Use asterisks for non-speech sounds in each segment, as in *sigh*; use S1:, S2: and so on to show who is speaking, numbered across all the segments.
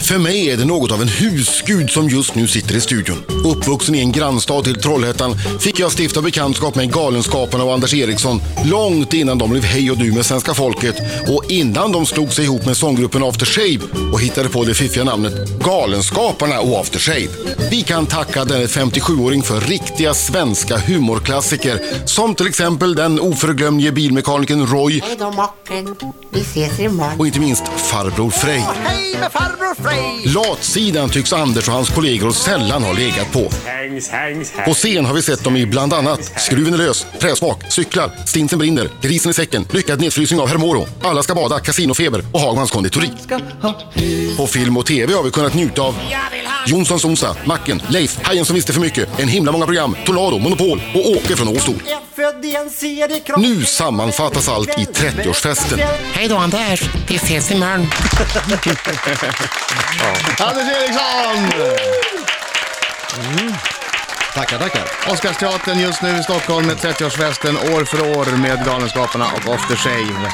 S1: För mig är det något av en husgud som just nu sitter i studion. Uppvuxen i en grannstad till Trollhättan fick jag stifta bekantskap med Galenskaparna och Anders Eriksson långt innan de blev hej och du med svenska folket och innan de slog sig ihop med sånggruppen Aftershave och hittade på det fiffiga namnet Galenskaparna och Aftershave. Vi kan tacka denne 57-åring för riktiga svenska humorklassiker som till exempel den oförglömlige bilmekanikern Roy
S2: Hej då mocken, vi ses imorgon.
S1: och inte minst farbror Frej.
S3: Hej med farbror Frej!
S1: Latsidan tycks Anders och hans kollegor sällan ha legat på.
S4: Hängs, hängs,
S1: På
S4: hängs.
S1: scen har vi sett dem i bland annat Skruven är lös, Träsmak, Cyklar, Stinsen brinner, Grisen i säcken, Lyckad nedfrysning av Hermoro, Alla ska bada, Kasinofeber och Hagmans konditori. På film och TV har vi kunnat njuta av Jonssons Osa, Macken, Leif, Hajen som visste för mycket, En himla många program, Tornado, Monopol och Åke från Åstol.
S3: Jag född i en seriekrock.
S1: Nu sammanfattas allt i 30-årsfesten.
S2: Hej då Anders, vi ses imorgon.
S5: Anders Eriksson!
S6: Mm.
S5: Tackar, tackar. Oscarsteatern just nu i Stockholm med 30-årsfesten år för år med Galenskaparna och After Shave.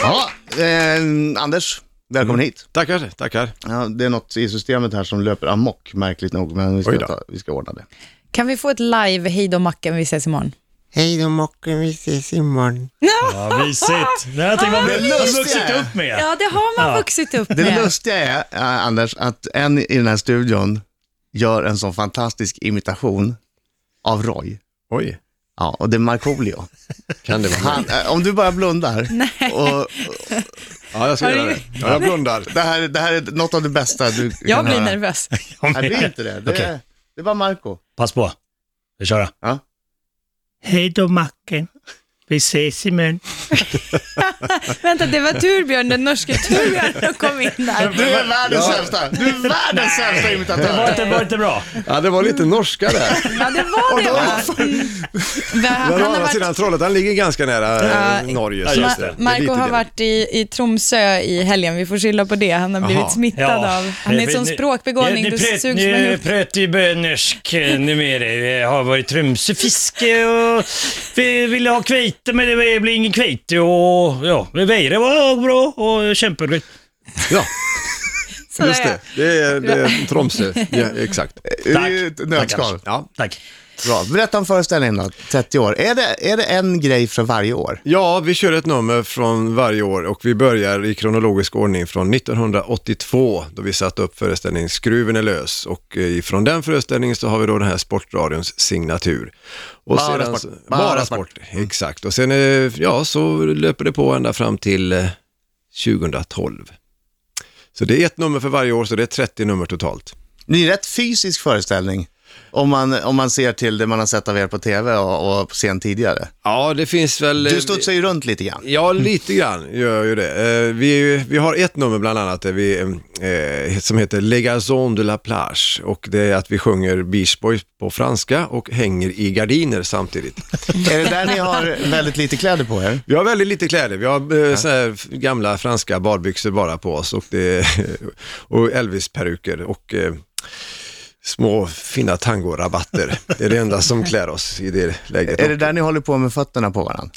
S5: Ja, eh, Anders, välkommen hit.
S6: Mm. Tackar, tackar.
S5: Ja, det är något i systemet här som löper amok, märkligt nog, men vi
S6: Oj
S5: ska,
S6: då.
S5: ta, vi ska ordna det.
S7: Kan vi få ett live hej då Macken, vi ses imorgon?
S2: Hej då mocken, vi ses imorgon.
S8: Ja, mysigt. Den här tycker man
S5: Det
S8: har
S5: lustiga
S8: vuxit
S5: är-
S8: upp med.
S7: *laughs* Ja, det har man
S8: Ja.
S7: vuxit upp
S5: Det
S7: med.
S5: lustiga är, eh, Anders, att en i den här studion gör en sån fantastisk imitation av Roy.
S6: Oj.
S5: Ja, och det är Markoolio.
S6: *laughs* Kan det vara
S5: Han, eh, om du bara blundar och,
S6: Ja, jag ska göra det. Ja, jag blundar.
S5: Det här, det här är något av det bästa du kan
S7: Jag blir
S5: höra.
S7: nervös.
S8: Om
S5: Nej, det är inte det. Det,
S8: Okej.
S5: är, det är bara Marco.
S8: Pass på. Vi kör.
S5: Ja.
S8: Hej då Macken. Vi ses imorgon.
S7: Vänta, det var Turbjörn, den norske Turbjörn som kom in
S5: Du
S7: där.
S5: är världens sämsta! Du är världens sämsta
S8: Det var
S5: imitatör!
S8: inte, var inte bra.
S6: Ja, det var lite norska där.
S7: Ja, det var det va? Mm. Vi har-
S6: Men
S7: Han
S6: å
S7: har
S6: andra
S7: varit,
S6: sidan Trollhättan ligger ganska nära eh,
S7: Ja,
S6: Norge.
S8: ja,
S6: så
S8: just
S6: att det är
S7: Marco
S6: lite
S7: har
S6: det.
S7: varit i, i Tromsö i helgen, vi får skylla på det. Han har blivit smittad av, han är en sån språkbegåvning,
S8: ni,
S7: du
S8: pröt-
S7: sugs med
S8: Ni
S7: huvudet.
S8: pratar ju bönörsk eh, numera. Vi har varit Tromsöfiske och vi ville ha kveite men det blev ingen kveite och ja, vädret var bra och kämperoligt.
S6: Ja,
S7: Sådär,
S6: just det.
S7: ja.
S6: Det är, det är Tromsö. Ja, exakt.
S5: Det är ju ett nötskal.
S8: Tackar.
S6: Ja.
S8: Tack.
S5: Bra. Berätta om föreställningen då, 30 år. Är det, är det en grej för varje år?
S6: ja, vi kör ett nummer från varje år och vi börjar i kronologisk ordning från 1982 då vi satte upp föreställningen Skruven är lös och eh, ifrån den föreställningen så har vi då den här Sportradions signatur. Och
S5: Bara
S6: sedan-
S5: sport.
S6: Bara,
S5: Bara
S6: sport. Mm. Exakt, och sen eh, ja, så löper det på ända fram till eh, 2012. Så det är ett nummer för varje år, så det är 30 nummer totalt.
S5: Det är en rätt fysisk föreställning. Om man, om man ser till det man har sett av er på tv och, och på scen tidigare.
S6: Ja, det finns väl... eh,
S5: Du studsar ju runt
S6: *laughs*
S5: lite grann.
S6: Ja, lite grann gör ju det. Eh, Vi, är ju- vi har ett nummer bland annat där vi, eh, som heter Legazon de la plage och det är att vi sjunger Beach Boys på franska och hänger i gardiner samtidigt.
S5: Är det där ni har väldigt lite kläder på er?
S6: Vi har väldigt lite kläder. Vi har eh, så här f- gamla franska badbyxor bara på oss och, det- *laughs* och Elvis-peruker och eh, små fina tangorabatter. Det är det enda som klär oss i det läget.
S5: Är det där ni håller på med fötterna på varandra?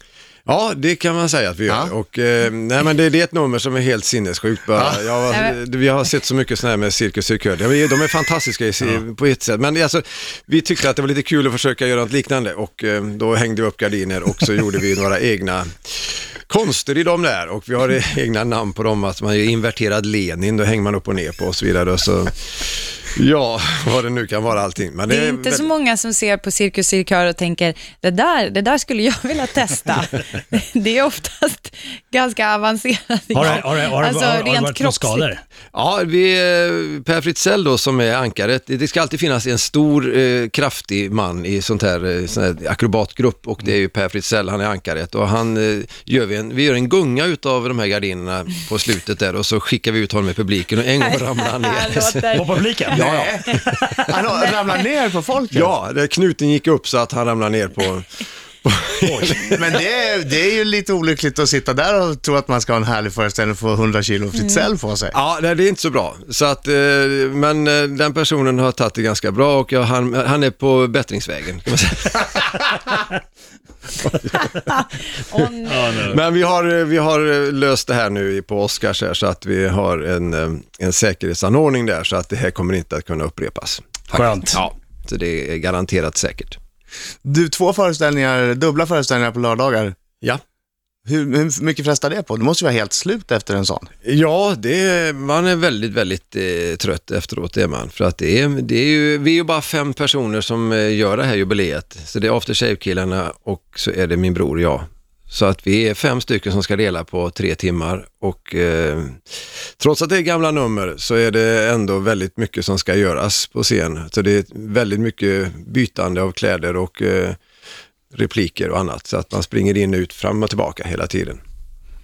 S6: Ja, det kan man säga att vi gör.
S5: Ja.
S6: Och, eh, nej, men det, det är ett nummer som är helt sinnessjukt. Bara. Jag, vi har sett så mycket sådana här med Cirkus Cirkör. De är de är fantastiska i, på ett sätt. Men alltså, vi tyckte att det var lite kul att försöka göra något liknande och eh, då hängde vi upp gardiner och så gjorde vi några egna konster i dem där och vi har eh, egna namn på dem. Att man är inverterad Lenin, då hänger man upp och ner på och så vidare. Och så, ja, vad det nu kan vara allting. Men
S7: Det är inte
S6: väldigt-
S7: så många som ser på Cirkus Cirkör och tänker, det där, det där skulle jag vilja
S8: *laughs*
S7: testa. det är oftast ganska avancerat. Alltså,
S8: Har det, har det, har det, har, har det varit några skador?
S6: Ja, vi, eh, Per Fritzell då som är ankaret, det ska alltid finnas en stor eh, kraftig man i sånt här, eh, sån här akrobatgrupp och det är ju Per Fritzell, han är ankaret och han eh, gör vi, en, vi gör en gunga utav de här gardinerna på slutet där och så skickar vi ut honom i publiken och en gång ramlar
S7: *laughs*
S6: han ner.
S8: *laughs* På publiken?
S6: *laughs* Ja,
S5: Han har- ramlar ner på folket?
S6: ja, ja det, knuten gick upp så att han ramlade ner på
S5: *laughs* Men det är, det är ju lite olyckligt att sitta där och tro att man ska ha en härlig föreställning och få 100 kilo fritzell på sig.
S6: Ja, nej, det är inte så bra. Så att, eh, men eh, den personen har tagit det ganska bra och jag, han, han är på bättringsvägen. kan man säga.
S7: Åh, nej.
S8: Ja, nu.
S6: men vi har, eh, vi har eh, löst det här nu i- på Oscars här, så att vi har en, eh, en säkerhetsanordning där så att det här kommer inte att kunna upprepas. Faktiskt.
S8: Skönt.
S6: Ja, så det är garanterat säkert.
S5: Du, två föreställningar, dubbla föreställningar på lördagar.
S6: Ja.
S5: Hur, hur mycket frestar det på? Du måste ju vara helt slut efter en sån.
S6: Ja, det, man är väldigt, väldigt eh, trött efteråt, det är man. För att det är, det är ju, vi är ju bara fem personer som eh, gör det här jubileet. Så det är After Shave-killarna och så är det min bror och jag. Så att vi är fem stycken som ska dela på tre timmar och eh, trots att det är gamla nummer så är det ändå väldigt mycket som ska göras på scen. Så det är väldigt mycket bytande av kläder och eh, repliker och annat. Så att man springer in, ut, fram och tillbaka hela tiden.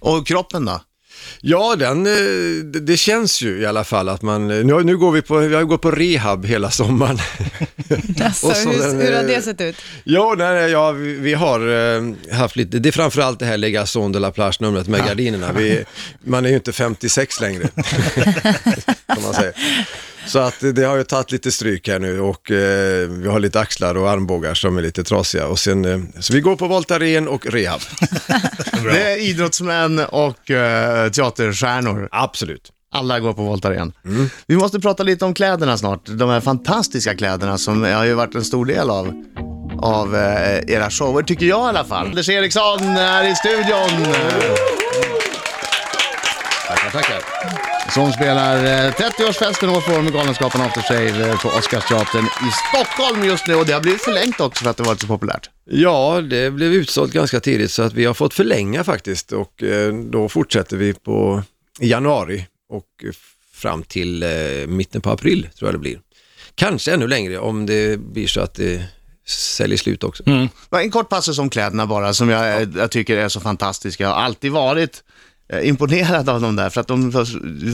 S5: Och kroppen då?
S6: Ja, den, eh, det- det känns ju i alla fall att man, eh, nu, nu går vi på, jag går på rehab hela *laughs* sommaren.
S7: Alltså,
S6: Och så
S7: hur,
S6: den,
S7: hur har
S6: eh,
S7: det sett ut?
S6: jo, nej, nej, ja, vi, vi har eh, haft lite, det är framförallt det här lägga son de la plage numret med gardinerna. Vi, man är ju inte 56 längre, som man säger. Så att eh, det har ju tagit lite stryk här nu och eh, vi har lite axlar och armbågar som är lite trasiga. Och sen, eh, så vi går på Voltaren och rehab.
S5: Det är idrottsmän och eh, teaterstjärnor.
S6: Absolut.
S5: Alla går på Voltaren. Vi måste prata lite om kläderna snart. De här fantastiska kläderna som har ju varit en stor del av, av eh, era shower, tycker jag i alla fall. Anders Eriksson är i studion. Tackar, tackar. Som spelar eh, 30-årsfesten år för år med Galenskaparna After Shave eh, på Oscarsteatern i Stockholm just nu. Och det har blivit förlängt också för att det har varit så populärt.
S6: Ja, det blev utsålt ganska tidigt så att vi har fått förlänga faktiskt och eh, då fortsätter vi på i januari och eh, fram till eh, mitten på april tror jag det blir. Kanske ännu längre om det blir så att det säljer slut också.
S5: Ja, En kort passus om kläderna bara, som jag, eh, jag tycker är så fantastiska. Jag har alltid varit eh, imponerad av dem där, för att de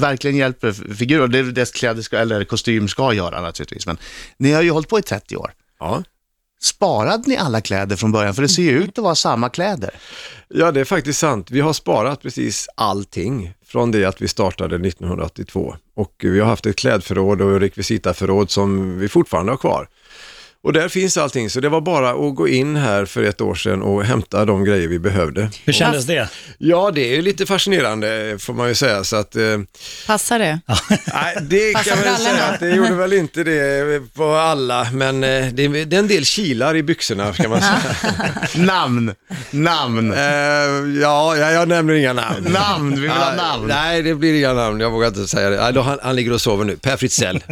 S5: verkligen hjälper f- figurer. Det är det kläder ska, eller kostym ska göra naturligtvis, men ni har ju hållit på i 30 år.
S6: Ja.
S5: Sparade ni alla kläder från början? För det ser ju ut att vara samma kläder.
S6: ja, det är faktiskt sant. Vi har sparat precis allting från det att vi startade 1982 och vi har haft ett klädförråd och rekvisitaförråd som vi fortfarande har kvar. Och där finns allting, så det var bara att gå in här för ett år sedan och hämta de grejer vi behövde.
S8: Hur kändes det?
S6: Ja, det är ju lite fascinerande får man ju säga. Så att, eh,
S7: Passar det?
S6: nej, det
S7: *laughs* Passar
S6: kan man ju
S7: brallorna?
S6: säga att det gjorde väl inte det på alla, men eh, det, är- det är en del kilar i byxorna kan man säga.
S7: *laughs*
S5: Namn! Namn!
S6: Eh, ja, jag, jag nämner inga namn.
S5: *laughs* Namn! Vi vill ha
S6: Ah,
S5: namn!
S6: Nej, det blir inga namn. Jag vågar inte säga det. Ah, då, han, han ligger och sover nu. Per
S5: *laughs*
S6: Fritzell.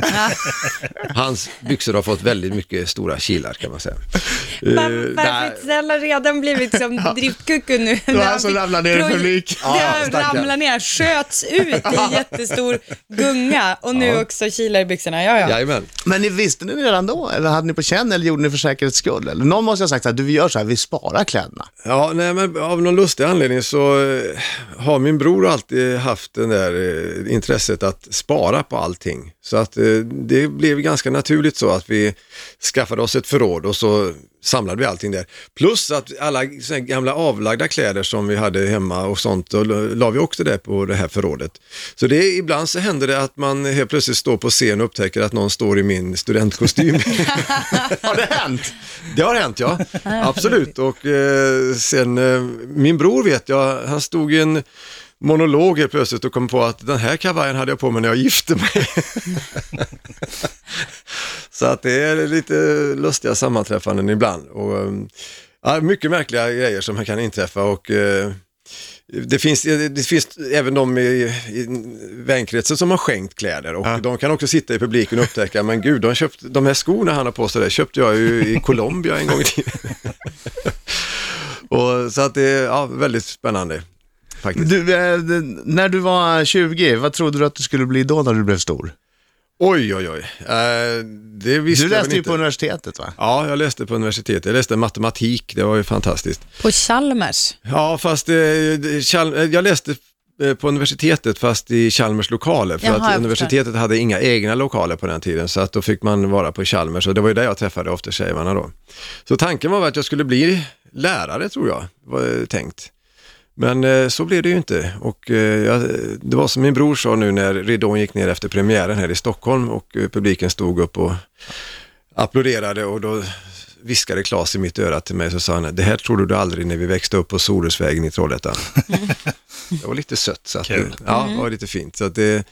S6: Hans byxor har fått väldigt mycket stora kilar kan man säga. Eh, nej.
S7: Pappa Fritzell har redan blivit
S8: *laughs*
S7: som driftkucku nu. Det
S5: var han som ramlade ner i publik.
S7: *laughs* Ja, han
S6: stackarn.
S7: ramlade ner, sköts ut
S8: *laughs*
S7: i jättestor gunga och nu också kilar i byxorna. Ja, ja.
S6: Jajamän.
S5: Men ni visste ni redan då? Eller hade ni på känn? Eller gjorde ni för säkerhets skull? Eller någon måste ha sagt att du, vi gör så här, vi sparar kläderna.
S6: Ja, nej, men av någon lustig anledning så eh, har min bror alltid haft det där eh, intresset att spara på allting. Så att eh, det blev ganska naturligt så att vi skaffade oss ett förråd och så samlade vi allting där. Plus att alla så här gamla avlagda kläder som vi hade hemma och sånt, då la- la vi också det på det här förrådet. Så det, är- ibland så händer det att man helt plötsligt står på scen och upptäcker att någon står i min studentkostym.
S5: Har det hänt?
S6: Det har hänt ja, absolut. Och eh, sen, eh, min bror vet jag, han stod i en monolog helt plötsligt och kom på att den här kavajen hade jag på mig när jag gifte mig. Så att det är lite lustiga sammanträffanden ibland. Och, eh, ja, mycket märkliga grejer som kan inträffa och eh, det finns, eh, det finns även de i, i vänkretsen som har skänkt kläder och de kan också sitta i publiken och upptäcka, men gud, de, köpt, de här skorna han har på sig, där köpte jag ju i Colombia en gång i tiden. *laughs* och, så att det är ja, väldigt spännande faktiskt.
S5: Du, eh, d- när du var 20, vad trodde du att du skulle bli då när du blev stor?
S6: Oj, oj, oj. Eh, det visste
S5: Du
S6: jag
S5: läste
S6: väl
S5: ju
S6: inte.
S5: på universitetet va?
S6: Ja, jag läste på universitetet. Jag läste matematik, det var ju fantastiskt.
S7: På Chalmers.
S6: Ja, fast eh, Chalm- eh, jag läste eh, på universitetet fast i Chalmers lokaler. För
S7: Jaha, jag
S6: att
S7: förstår.
S6: universitetet hade inga egna lokaler på den tiden så att då fick man vara på Chalmers och det var ju där jag träffade ofta tjejerna då. Så tanken var väl att jag skulle bli lärare tror jag, var eh, tänkt. Men eh, så blev det ju inte och eh, jag, det var som min bror sa nu när ridån gick ner efter premiären här i Stockholm och eh, publiken stod upp och applåderade och då viskade Claes i mitt öra till mig så sa han, det här trodde du aldrig när vi växte upp på Sorusvägen i Trollhättan. det var lite sött, så att,
S8: Kul.
S6: ja, det var lite fint. Så att det,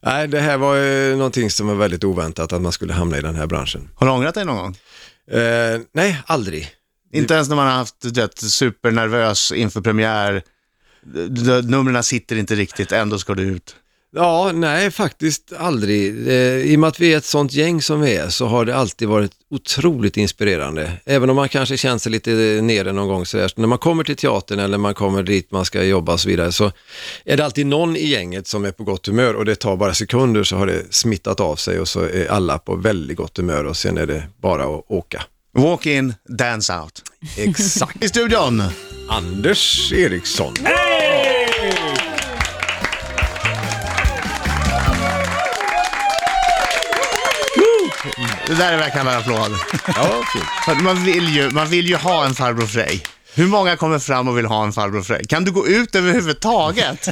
S6: nej, det här var eh, någonting som var väldigt oväntat att man skulle hamna i den här branschen.
S5: Har du ångrat dig någon gång?
S6: Eh, nej, aldrig.
S5: Inte ens när man har haft du vet, supernervös inför premiär. D- d- Numren sitter inte riktigt, ändå ska du ut.
S6: Ja, nej, faktiskt aldrig. Eh, I och med att vi är ett sånt gäng som vi är så har det alltid varit otroligt inspirerande. Även om man kanske känner sig lite nere någon gång sådär. Så när man kommer till teatern eller man kommer dit man ska jobba och så vidare så är det alltid någon i gänget som är på gott humör och det tar bara sekunder så har det smittat av sig och så är alla på väldigt gott humör och sen är det bara att åka.
S5: Walk in, dance out.
S6: Exakt.
S5: I studion!
S6: Anders Eriksson.
S5: Det där är verkligen en applåd. *laughs*
S6: Ja, fint.
S5: För att Man vill, ju, man vill ju ha en farbror Frej. Hur många kommer fram och vill ha en farbror Frej? Kan du gå ut överhuvudtaget?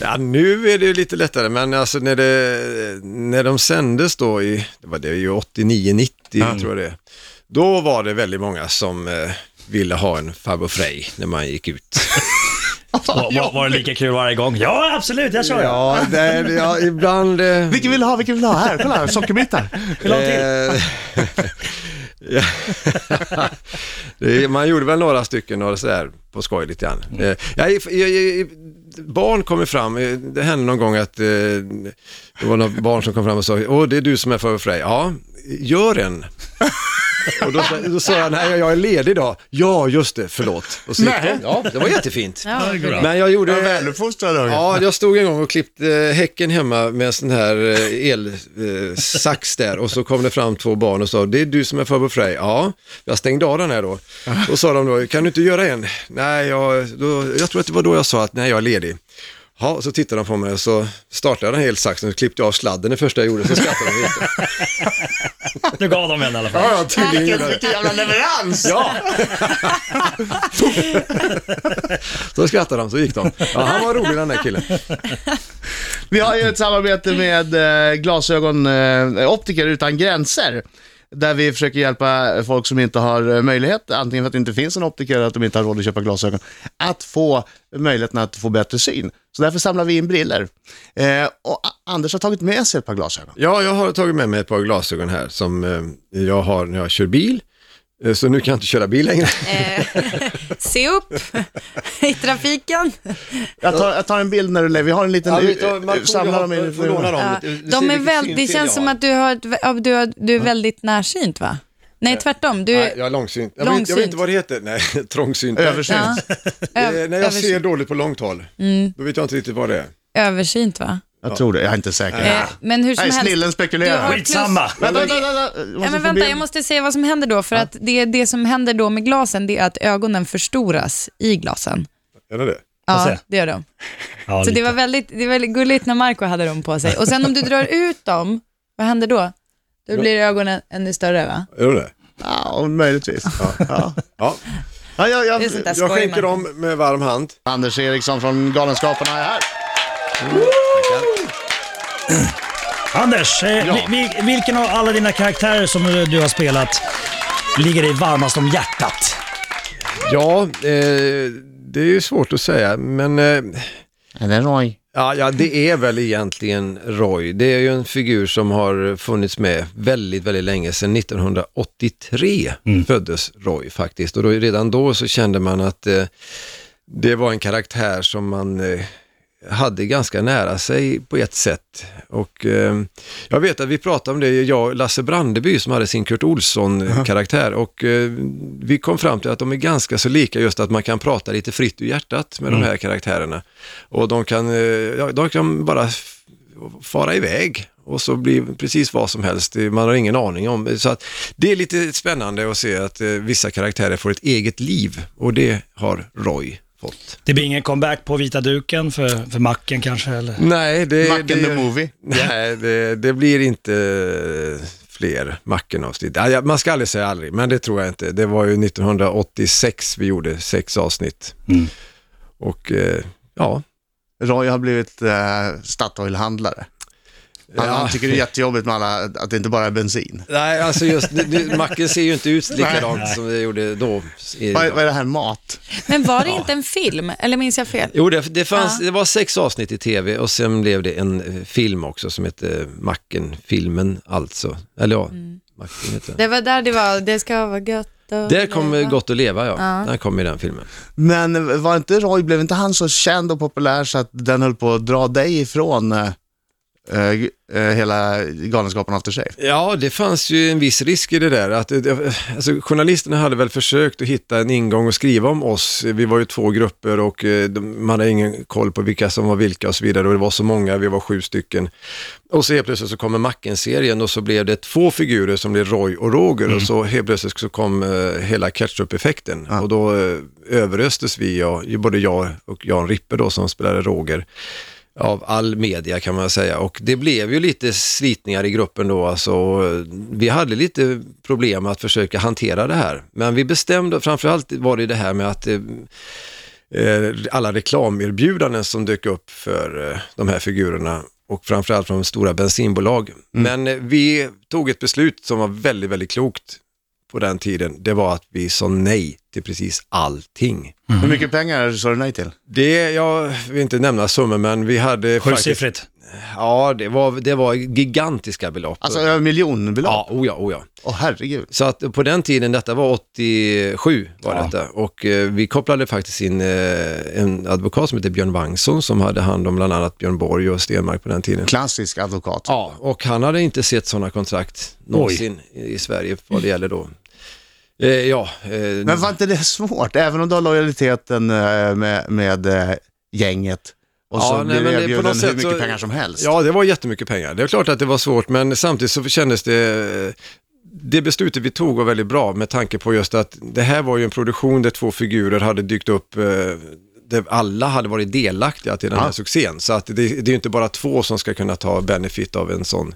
S6: Ja, nu är det ju lite lättare, men alltså när, det, när de sändes då i, det var det ju 89-90 tror jag det är. Då var det väldigt många som eh, ville ha en farbror Frej när man gick ut.
S8: Var, var, var det lika kul varje gång? Ja, absolut, jag kör jag.
S6: ja, det, ja, ibland... eh,
S5: Vilken vill du ha? Vilken vill du ha? Här, kolla, sockerbitar.
S8: Vill du ha en till?
S6: Eh, *laughs* ja. Det- Man gjorde väl några stycken och sådär på skoj lite grann. Eh, Jag, jag, jag, barn kommer fram, eh, det hände någon gång att eh, det var några barn som kom fram och sa, åh det är du som är för Frej. Ja, gör en. Och då, sa- då sa jag, nej jag är ledig idag. Ja, just det, förlåt. Och så gick de. Ja, det var jättefint.
S7: Ja, det är
S6: Men jag gjorde...
S5: Du är väluppfostrad Roger.
S6: Ja, jag stod en gång och klippte eh, häcken hemma med en sån här eh, elsax där och så kom det fram två barn och sa, det är du som är farbror Frej. Ja, jag stängde av den här då. Då sa de då, kan du inte göra en? Nej, jag, då, jag tror att det var då jag sa att nej, jag är ledig. Ja, och så tittade de på mig och så startade jag den här elsaxen och klippte jag av sladden det första jag gjorde, så skrattade de inte.
S8: Nu gav de en i alla fall.
S6: Ja, tydligen gjorde jag det.
S5: Vilken jävla leverans!
S6: Ja! så skrattade de, så gick de. Ja, han var rolig den där killen.
S5: Vi har ju ett samarbete med eh, glasögonoptiker utan gränser. Där vi försöker hjälpa folk som inte har eh, möjlighet, antingen för att det inte finns en optiker eller att de inte har råd att köpa glasögon, att få möjligheten att få bättre syn. Så därför samlar vi in briller. Eh, och A- Anders har tagit med sig ett par glasögon.
S6: Ja, jag har tagit med mig ett par glasögon här som eh, jag har när jag kör bil. Eh, Så nu kan jag inte köra bil längre.
S7: Se upp *laughs* i trafiken.
S5: Jag tar, jag tar en bild när du lägger, vi har en liten,
S7: Eh,
S5: samlar dem i, *laughs*
S7: Ja, de är väl, det känns som att du, har, ett- ja, du, har, du är väldigt närsynt va? Nej, tvärtom. Du
S6: Nej,
S7: är
S6: jag är långsynt. Jag, vet, jag vet inte
S7: Långsynt.
S6: vad det heter. Nej, *laughs* trångsynt.
S5: översynt.
S7: ja,
S6: Eh,
S7: öv,
S6: när jag ser
S7: översynt, Mm.
S6: dåligt på långt håll, då vet jag inte riktigt vad det är.
S7: översynt va?
S5: Jag tror det, jag är inte säker.
S7: Eh, men hur som
S5: Ah. Nej,
S7: helst.
S5: snillen
S7: Du har
S5: spekulerar.
S7: plus-
S8: Skitsamma.
S5: Vänta, vänta, vänta. Jag
S7: Ja,
S5: måste
S7: men
S5: få
S7: vänta,
S5: bild.
S7: jag måste säga vad som händer då. För att det, det som händer då med glasen, det är att ögonen förstoras i glasen.
S6: Är det det?
S8: Får
S7: Ja,
S8: se.
S7: det gör de.
S8: Ja,
S7: Så
S8: lite.
S7: det var, väldigt, det var väldigt gulligt när Marco hade dem på sig. Och sen om du drar ut dem, vad händer då? Då blir ögonen ännu större va?
S6: Är det det?
S5: Ja, möjligtvis. Ja.
S6: Ja.
S5: Ja, jag, jag,
S7: Det är sånt där
S6: Jag
S7: skoj,
S6: skänker
S7: Marco.
S6: dem med varm hand.
S5: Anders Eriksson från Galenskaparna är här.
S8: Anders, eh, vi- vi- vilken av alla dina karaktärer som eh, du har spelat ligger dig varmast om hjärtat?
S6: Ja, eh, det är ju svårt att säga, men eh,
S5: Är det Roy?
S6: Ja, ja, det är väl egentligen Roy. Det är ju en figur som har funnits med väldigt, väldigt länge. Sedan 1983 föddes Roy faktiskt. Och då, redan då så kände man att eh, det var en karaktär som man eh, hade ganska nära sig på ett sätt. Och eh, jag vet att vi pratade om det, jag och Lasse Brandeby som hade sin Kurt Olsson-karaktär. Och eh, vi kom fram till att de är ganska så lika just att man kan prata lite fritt ur hjärtat med de här karaktärerna. Och de kan, eh, ja, de kan bara f- fara iväg och så blir precis vad som helst, Det- man har ingen aning om. Så att det är lite spännande att se att eh, vissa karaktärer får ett eget liv och det har Roy fått. Gott.
S8: Det blir ingen comeback på vita duken för, för macken kanske? Eller?
S6: Nej, det...
S5: Macken
S6: det,
S5: the movie.
S6: Nej, det, det blir inte fler Macken-avsnitt. Ja, ja, Man ska aldrig säga aldrig, men det tror jag inte. Det var ju 1986 vi gjorde sex avsnitt.
S8: Mm.
S6: Och eh, ja,
S5: Roy har blivit eh, Statoil-handlare. Han,
S6: Ja.
S5: han tycker det är jättejobbigt med alla, att det inte bara är bensin.
S6: Nej, alltså just nu- nu, macken ser ju inte
S5: *laughs*
S6: ut likadant som det gjorde då. i-
S5: Vad, är- vad är det här, mat?
S7: Men var det inte en film? Eller minns jag fel?
S6: Jo, det, det, fanns, det var sex avsnitt i tv och sen blev det en eh, film också som hette Macken-filmen alltså. Eller ja, Macken heter den.
S7: Det var där det var, det ska vara gött och
S6: Där kom eh, Gott att leva ja,
S7: Ja.
S6: där kom ju den filmen.
S5: Men var inte Roy, blev inte han så känd och populär så att den höll på att dra dig ifrån eh, eh, hela Galenskaparna After Shave?
S6: Ja, det fanns ju en viss risk i det där. Att, eh, det- alltså, journalisterna hade väl försökt att hitta en ingång och skriva om oss. Vi var ju två grupper och eh, de- man hade ingen koll på vilka som var vilka och så vidare. Och det var så många, vi var sju stycken. Och så helt plötsligt så kommer Macken-serien och så blev det två figurer som blev Roy och Roger. Och så helt plötsligt så kom eh, hela catch-up-effekten. Och då eh, överöstes vi, ja, ju både jag och Jan Rippe då som spelade Roger av all media kan man säga och det blev ju lite slitningar i gruppen då alltså. Och Vi hade lite problem att försöka hantera det här men vi bestämde, framförallt var det det här med att eh, eh, alla reklamerbjudanden som dök upp för eh, de här figurerna och framförallt från stora bensinbolag. Men eh, vi tog ett beslut som var väldigt, väldigt klokt på den tiden. Det var att vi sa nej till precis allting.
S5: Hur mycket pengar sa du nej till?
S6: Det, jag vill inte nämna summor men vi hade faktiskt
S8: Sjusiffrigt.
S6: Ja, det var, det var gigantiska belopp.
S5: Alltså över miljonbelopp?
S6: ja, oh ja, oh ja.
S5: Åh herregud.
S6: Så att på den tiden, detta var 87 var
S8: Ja.
S6: detta och eh, vi kopplade faktiskt in eh, en advokat som heter Björn Wangsson som hade hand om bland annat Björn Borg och Stenmark på den tiden.
S5: Klassisk advokat.
S6: Ja, och han hade inte sett sådana kontrakt någonsin i i Sverige vad det gäller då. Eh, ja, eh,
S5: Men var inte det svårt? Även om du har lojaliteten eh, med, med eh, gänget och
S6: Ja,
S5: så
S6: nej,
S5: blir
S6: men
S5: du
S6: det- på
S5: erbjuden
S6: något
S5: hur
S6: sätt
S5: mycket
S6: så-
S5: pengar som helst.
S6: Ja, det var jättemycket pengar. Det är klart att det var svårt, men samtidigt så kändes det... Det beslutet vi tog var väldigt bra med tanke på just att det här var ju en produktion där två figurer hade dykt upp, eh, där alla hade varit delaktiga till den här
S5: Ja.
S6: succén. Så att det, det är ju inte bara två som ska kunna ta benefit av en sån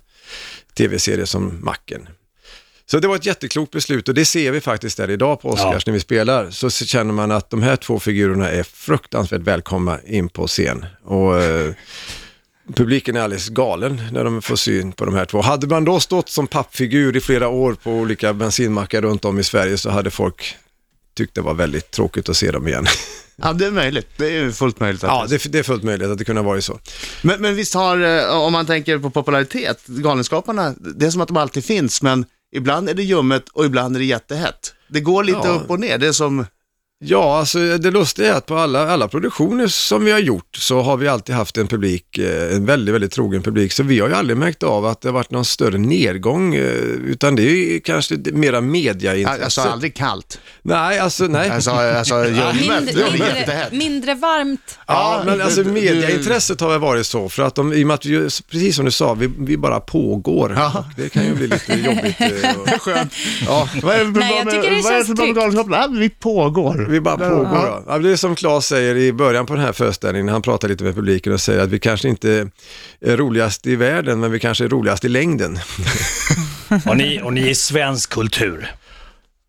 S6: tv-serie som Macken. Så det var ett jätteklokt beslut och det ser vi faktiskt där idag på Oscars när vi spelar. Så s- känner man att de här två figurerna är fruktansvärt välkomna in på scen. Och, eh, Publiken är alldeles galen när de får syn på de här två. Hade man då stått som pappfigur i flera år på olika bensinmackar runt om i Sverige så hade folk tyckt det var väldigt tråkigt att se dem igen.
S5: Ja, det är möjligt. Det är fullt möjligt. Att
S6: Ja, *laughs* det, det är fullt möjligt att det kunde ha varit så.
S5: Men, men visst har, eh, om man tänker på popularitet, Galenskaparna, det är som att de alltid finns, men ibland är det ljummet och ibland är det jättehett. Det går lite
S6: Ja.
S5: upp och ner, det är som,
S6: Ja, alltså det lustiga är att på alla, alla produktioner som vi har gjort så har vi alltid haft en publik, eh, en väldigt, väldigt trogen publik. Så vi har ju aldrig märkt av att det har varit någon större nedgång, eh, utan det är ju kanske det- mera mediaintresset.
S5: jag sa aldrig kallt,
S6: Nej, alltså nej.
S5: jag sa,
S6: *laughs*
S5: jag sa ljummet, det
S7: Mindre,
S5: var
S7: mindre,
S5: jättehett.
S7: mindre varmt.
S6: Ja, men alltså
S5: du- du-
S6: mediaintresset har väl varit så, för att de, i och med att vi, ju- precis som du sa, vi, vi bara pågår.
S5: Ja.
S6: Och Det kan ju bli lite jobbigt. eh, och-
S5: Skönt. Ja. Vad är det för
S7: Nej,
S5: bra
S7: jag
S5: med,
S7: tycker det
S5: vad är det
S7: känns
S5: för bra med
S7: tryggt.
S5: Galenskaparna? Ah, Vi pågår.
S6: Vi bara pågår. Ja. Ja, men det är som Claes säger i början på den här föreställningen, han pratar lite med publiken och säger att vi kanske inte är roligast i världen, men vi kanske är roligast i längden. *laughs*
S8: Och ni, och ni är svensk kultur.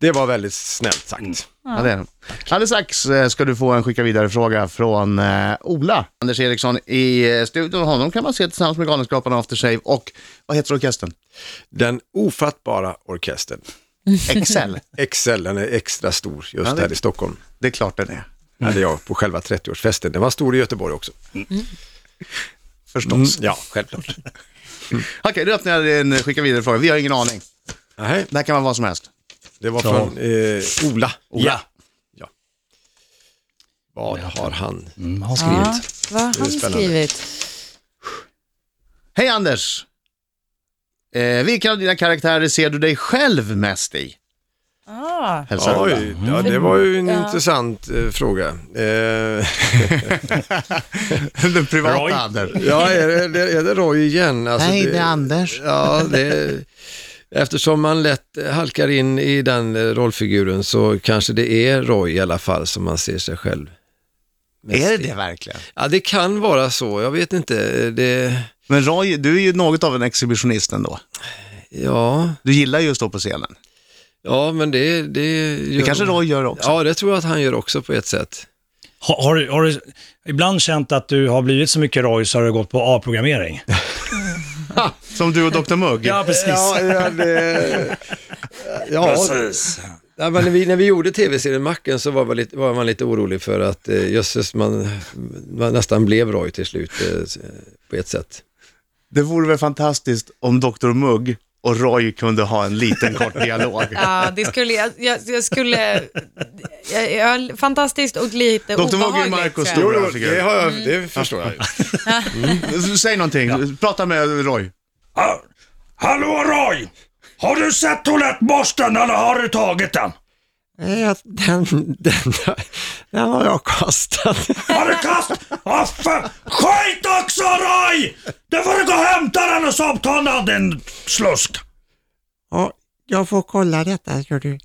S6: Det var väldigt snällt sagt.
S5: Ja, det är de. Alldeles strax eh, ska du få en skicka vidare-fråga från eh, Ola. Anders Eriksson i eh, studion. Honom kan man se tillsammans med Galenskaparna After Shave och, vad heter orkestern?
S6: Den ofattbara orkestern,
S5: Excel.
S6: Excel, den är extra stor just
S5: Ja, det-
S6: här i Stockholm.
S5: Det är klart den är.
S6: Hade jag på själva 30-årsfesten. Den var stor i Göteborg också.
S5: Förstås.
S6: Mm. Ja, självklart.
S5: *laughs* Okej, du öppnar en eh, skicka vidare fråga. Vi har ingen aning.
S6: Nej,
S5: Det här kan vara vad som helst.
S6: det var från eh, Ola.
S8: Ja.
S6: Vad har han?
S8: Mm,
S7: Ja,
S8: har skrivit.
S7: vad har han
S6: spännande.
S7: skrivit?
S5: Hej Anders! Eh, vilka av dina karaktärer ser du dig själv mest i?
S7: Ah,
S5: Hälsar Ola.
S6: Oj, ja, det var ju en intressant eh, fråga. Eh,
S5: *laughs*
S6: *laughs*
S5: Den
S8: Roy.
S5: privata Anders.
S6: ja, är det, är det- är det Roy igen? Alltså,
S5: Nej, det är Anders.
S6: Ja, det, eftersom man lätt halkar in i den eh, rollfiguren så kanske det är Roy i alla fall som man ser sig själv
S5: Är det det verkligen?
S6: Ja, det kan vara så. Jag vet inte. Det,
S5: Men Roy, du är ju något av en exhibitionist ändå.
S6: ja,
S5: Du gillar ju att stå på scenen.
S6: ja, men det... Det,
S5: Det
S6: gör
S5: kanske Roy gör också.
S6: Ja, det tror jag att han gör också på ett sätt.
S8: Har, har, du- har du ibland känt att du har blivit så mycket Roy så har du gått på A-programmering?
S5: Som du och Dr Mugg.
S8: Ja, precis.
S6: ja, det, ja
S8: precis.
S6: Ja, men när, vi, när vi gjorde tv-serien Macken så var man lite, var man lite orolig för att eh, jösses, man, man nästan blev Roy till slut eh, s- på ett sätt.
S5: Det vore väl fantastiskt om Dr Mugg och Roy kunde ha en liten kort dialog.
S7: Ja, det skulle, jag, jag, jag skulle, jag, jag, fantastiskt och lite
S5: Dr. Mogge och
S7: obehagligt.
S5: Marcus
S7: tror jag.
S5: Jo, jo, det
S6: har jag, det förstår jag.
S5: Mm. Säg någonting, prata med Roy.
S8: Ha- Hallå Roy! Har du sett toalettborsten eller har du tagit den?
S2: Nej, jag- Den, *laughs* den, den har jag kastat.
S8: Har du kast? Ah, fan. Skit också Roy! Då får du gå och hämta den och soptunnan din slusk.
S2: Ja, jag får kolla detta, ser du.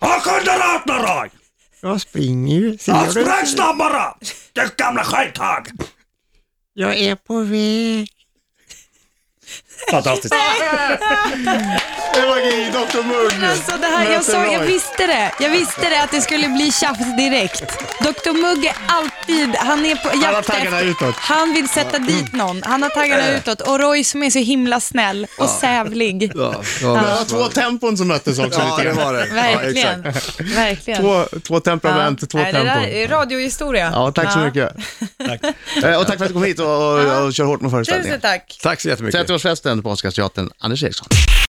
S8: Ja, skynda dig åt nu Roy!
S2: Jag springer ju,
S8: Ja,
S2: ser du?
S8: Spräng snabbare! Du gamla skithög!
S2: Jag är på väg.
S8: Fantastiskt.
S5: Det var grej, Dr Mugg!
S7: Alltså det här, jag, sa, jag visste det. Jag visste det att det skulle bli tjafs direkt. Dr Mugg är alltid, han är på jakt
S5: taggarna
S7: efter,
S5: utåt. Eh.
S7: han vill sätta dit någon. Han har taggarna utåt och Roy som är så himla snäll och sävlig.
S6: Ja, ja,
S5: Det var två tempon som möttes också
S6: ja,
S5: lite
S6: det
S5: grann.
S6: var det.
S7: Verkligen. Verkligen.
S5: Två, två temperament, två
S7: Nej, Äh, det där
S5: tempon.
S7: är radiohistoria.
S5: Ja, tack så mycket. Eh, Och tack för att du kom hit och, och, och kör hårt med föreställningen.
S7: Tusen tack.
S6: Tack så jättemycket.
S5: 30-årsfesten på Oscarsteatern, Anders Eriksson.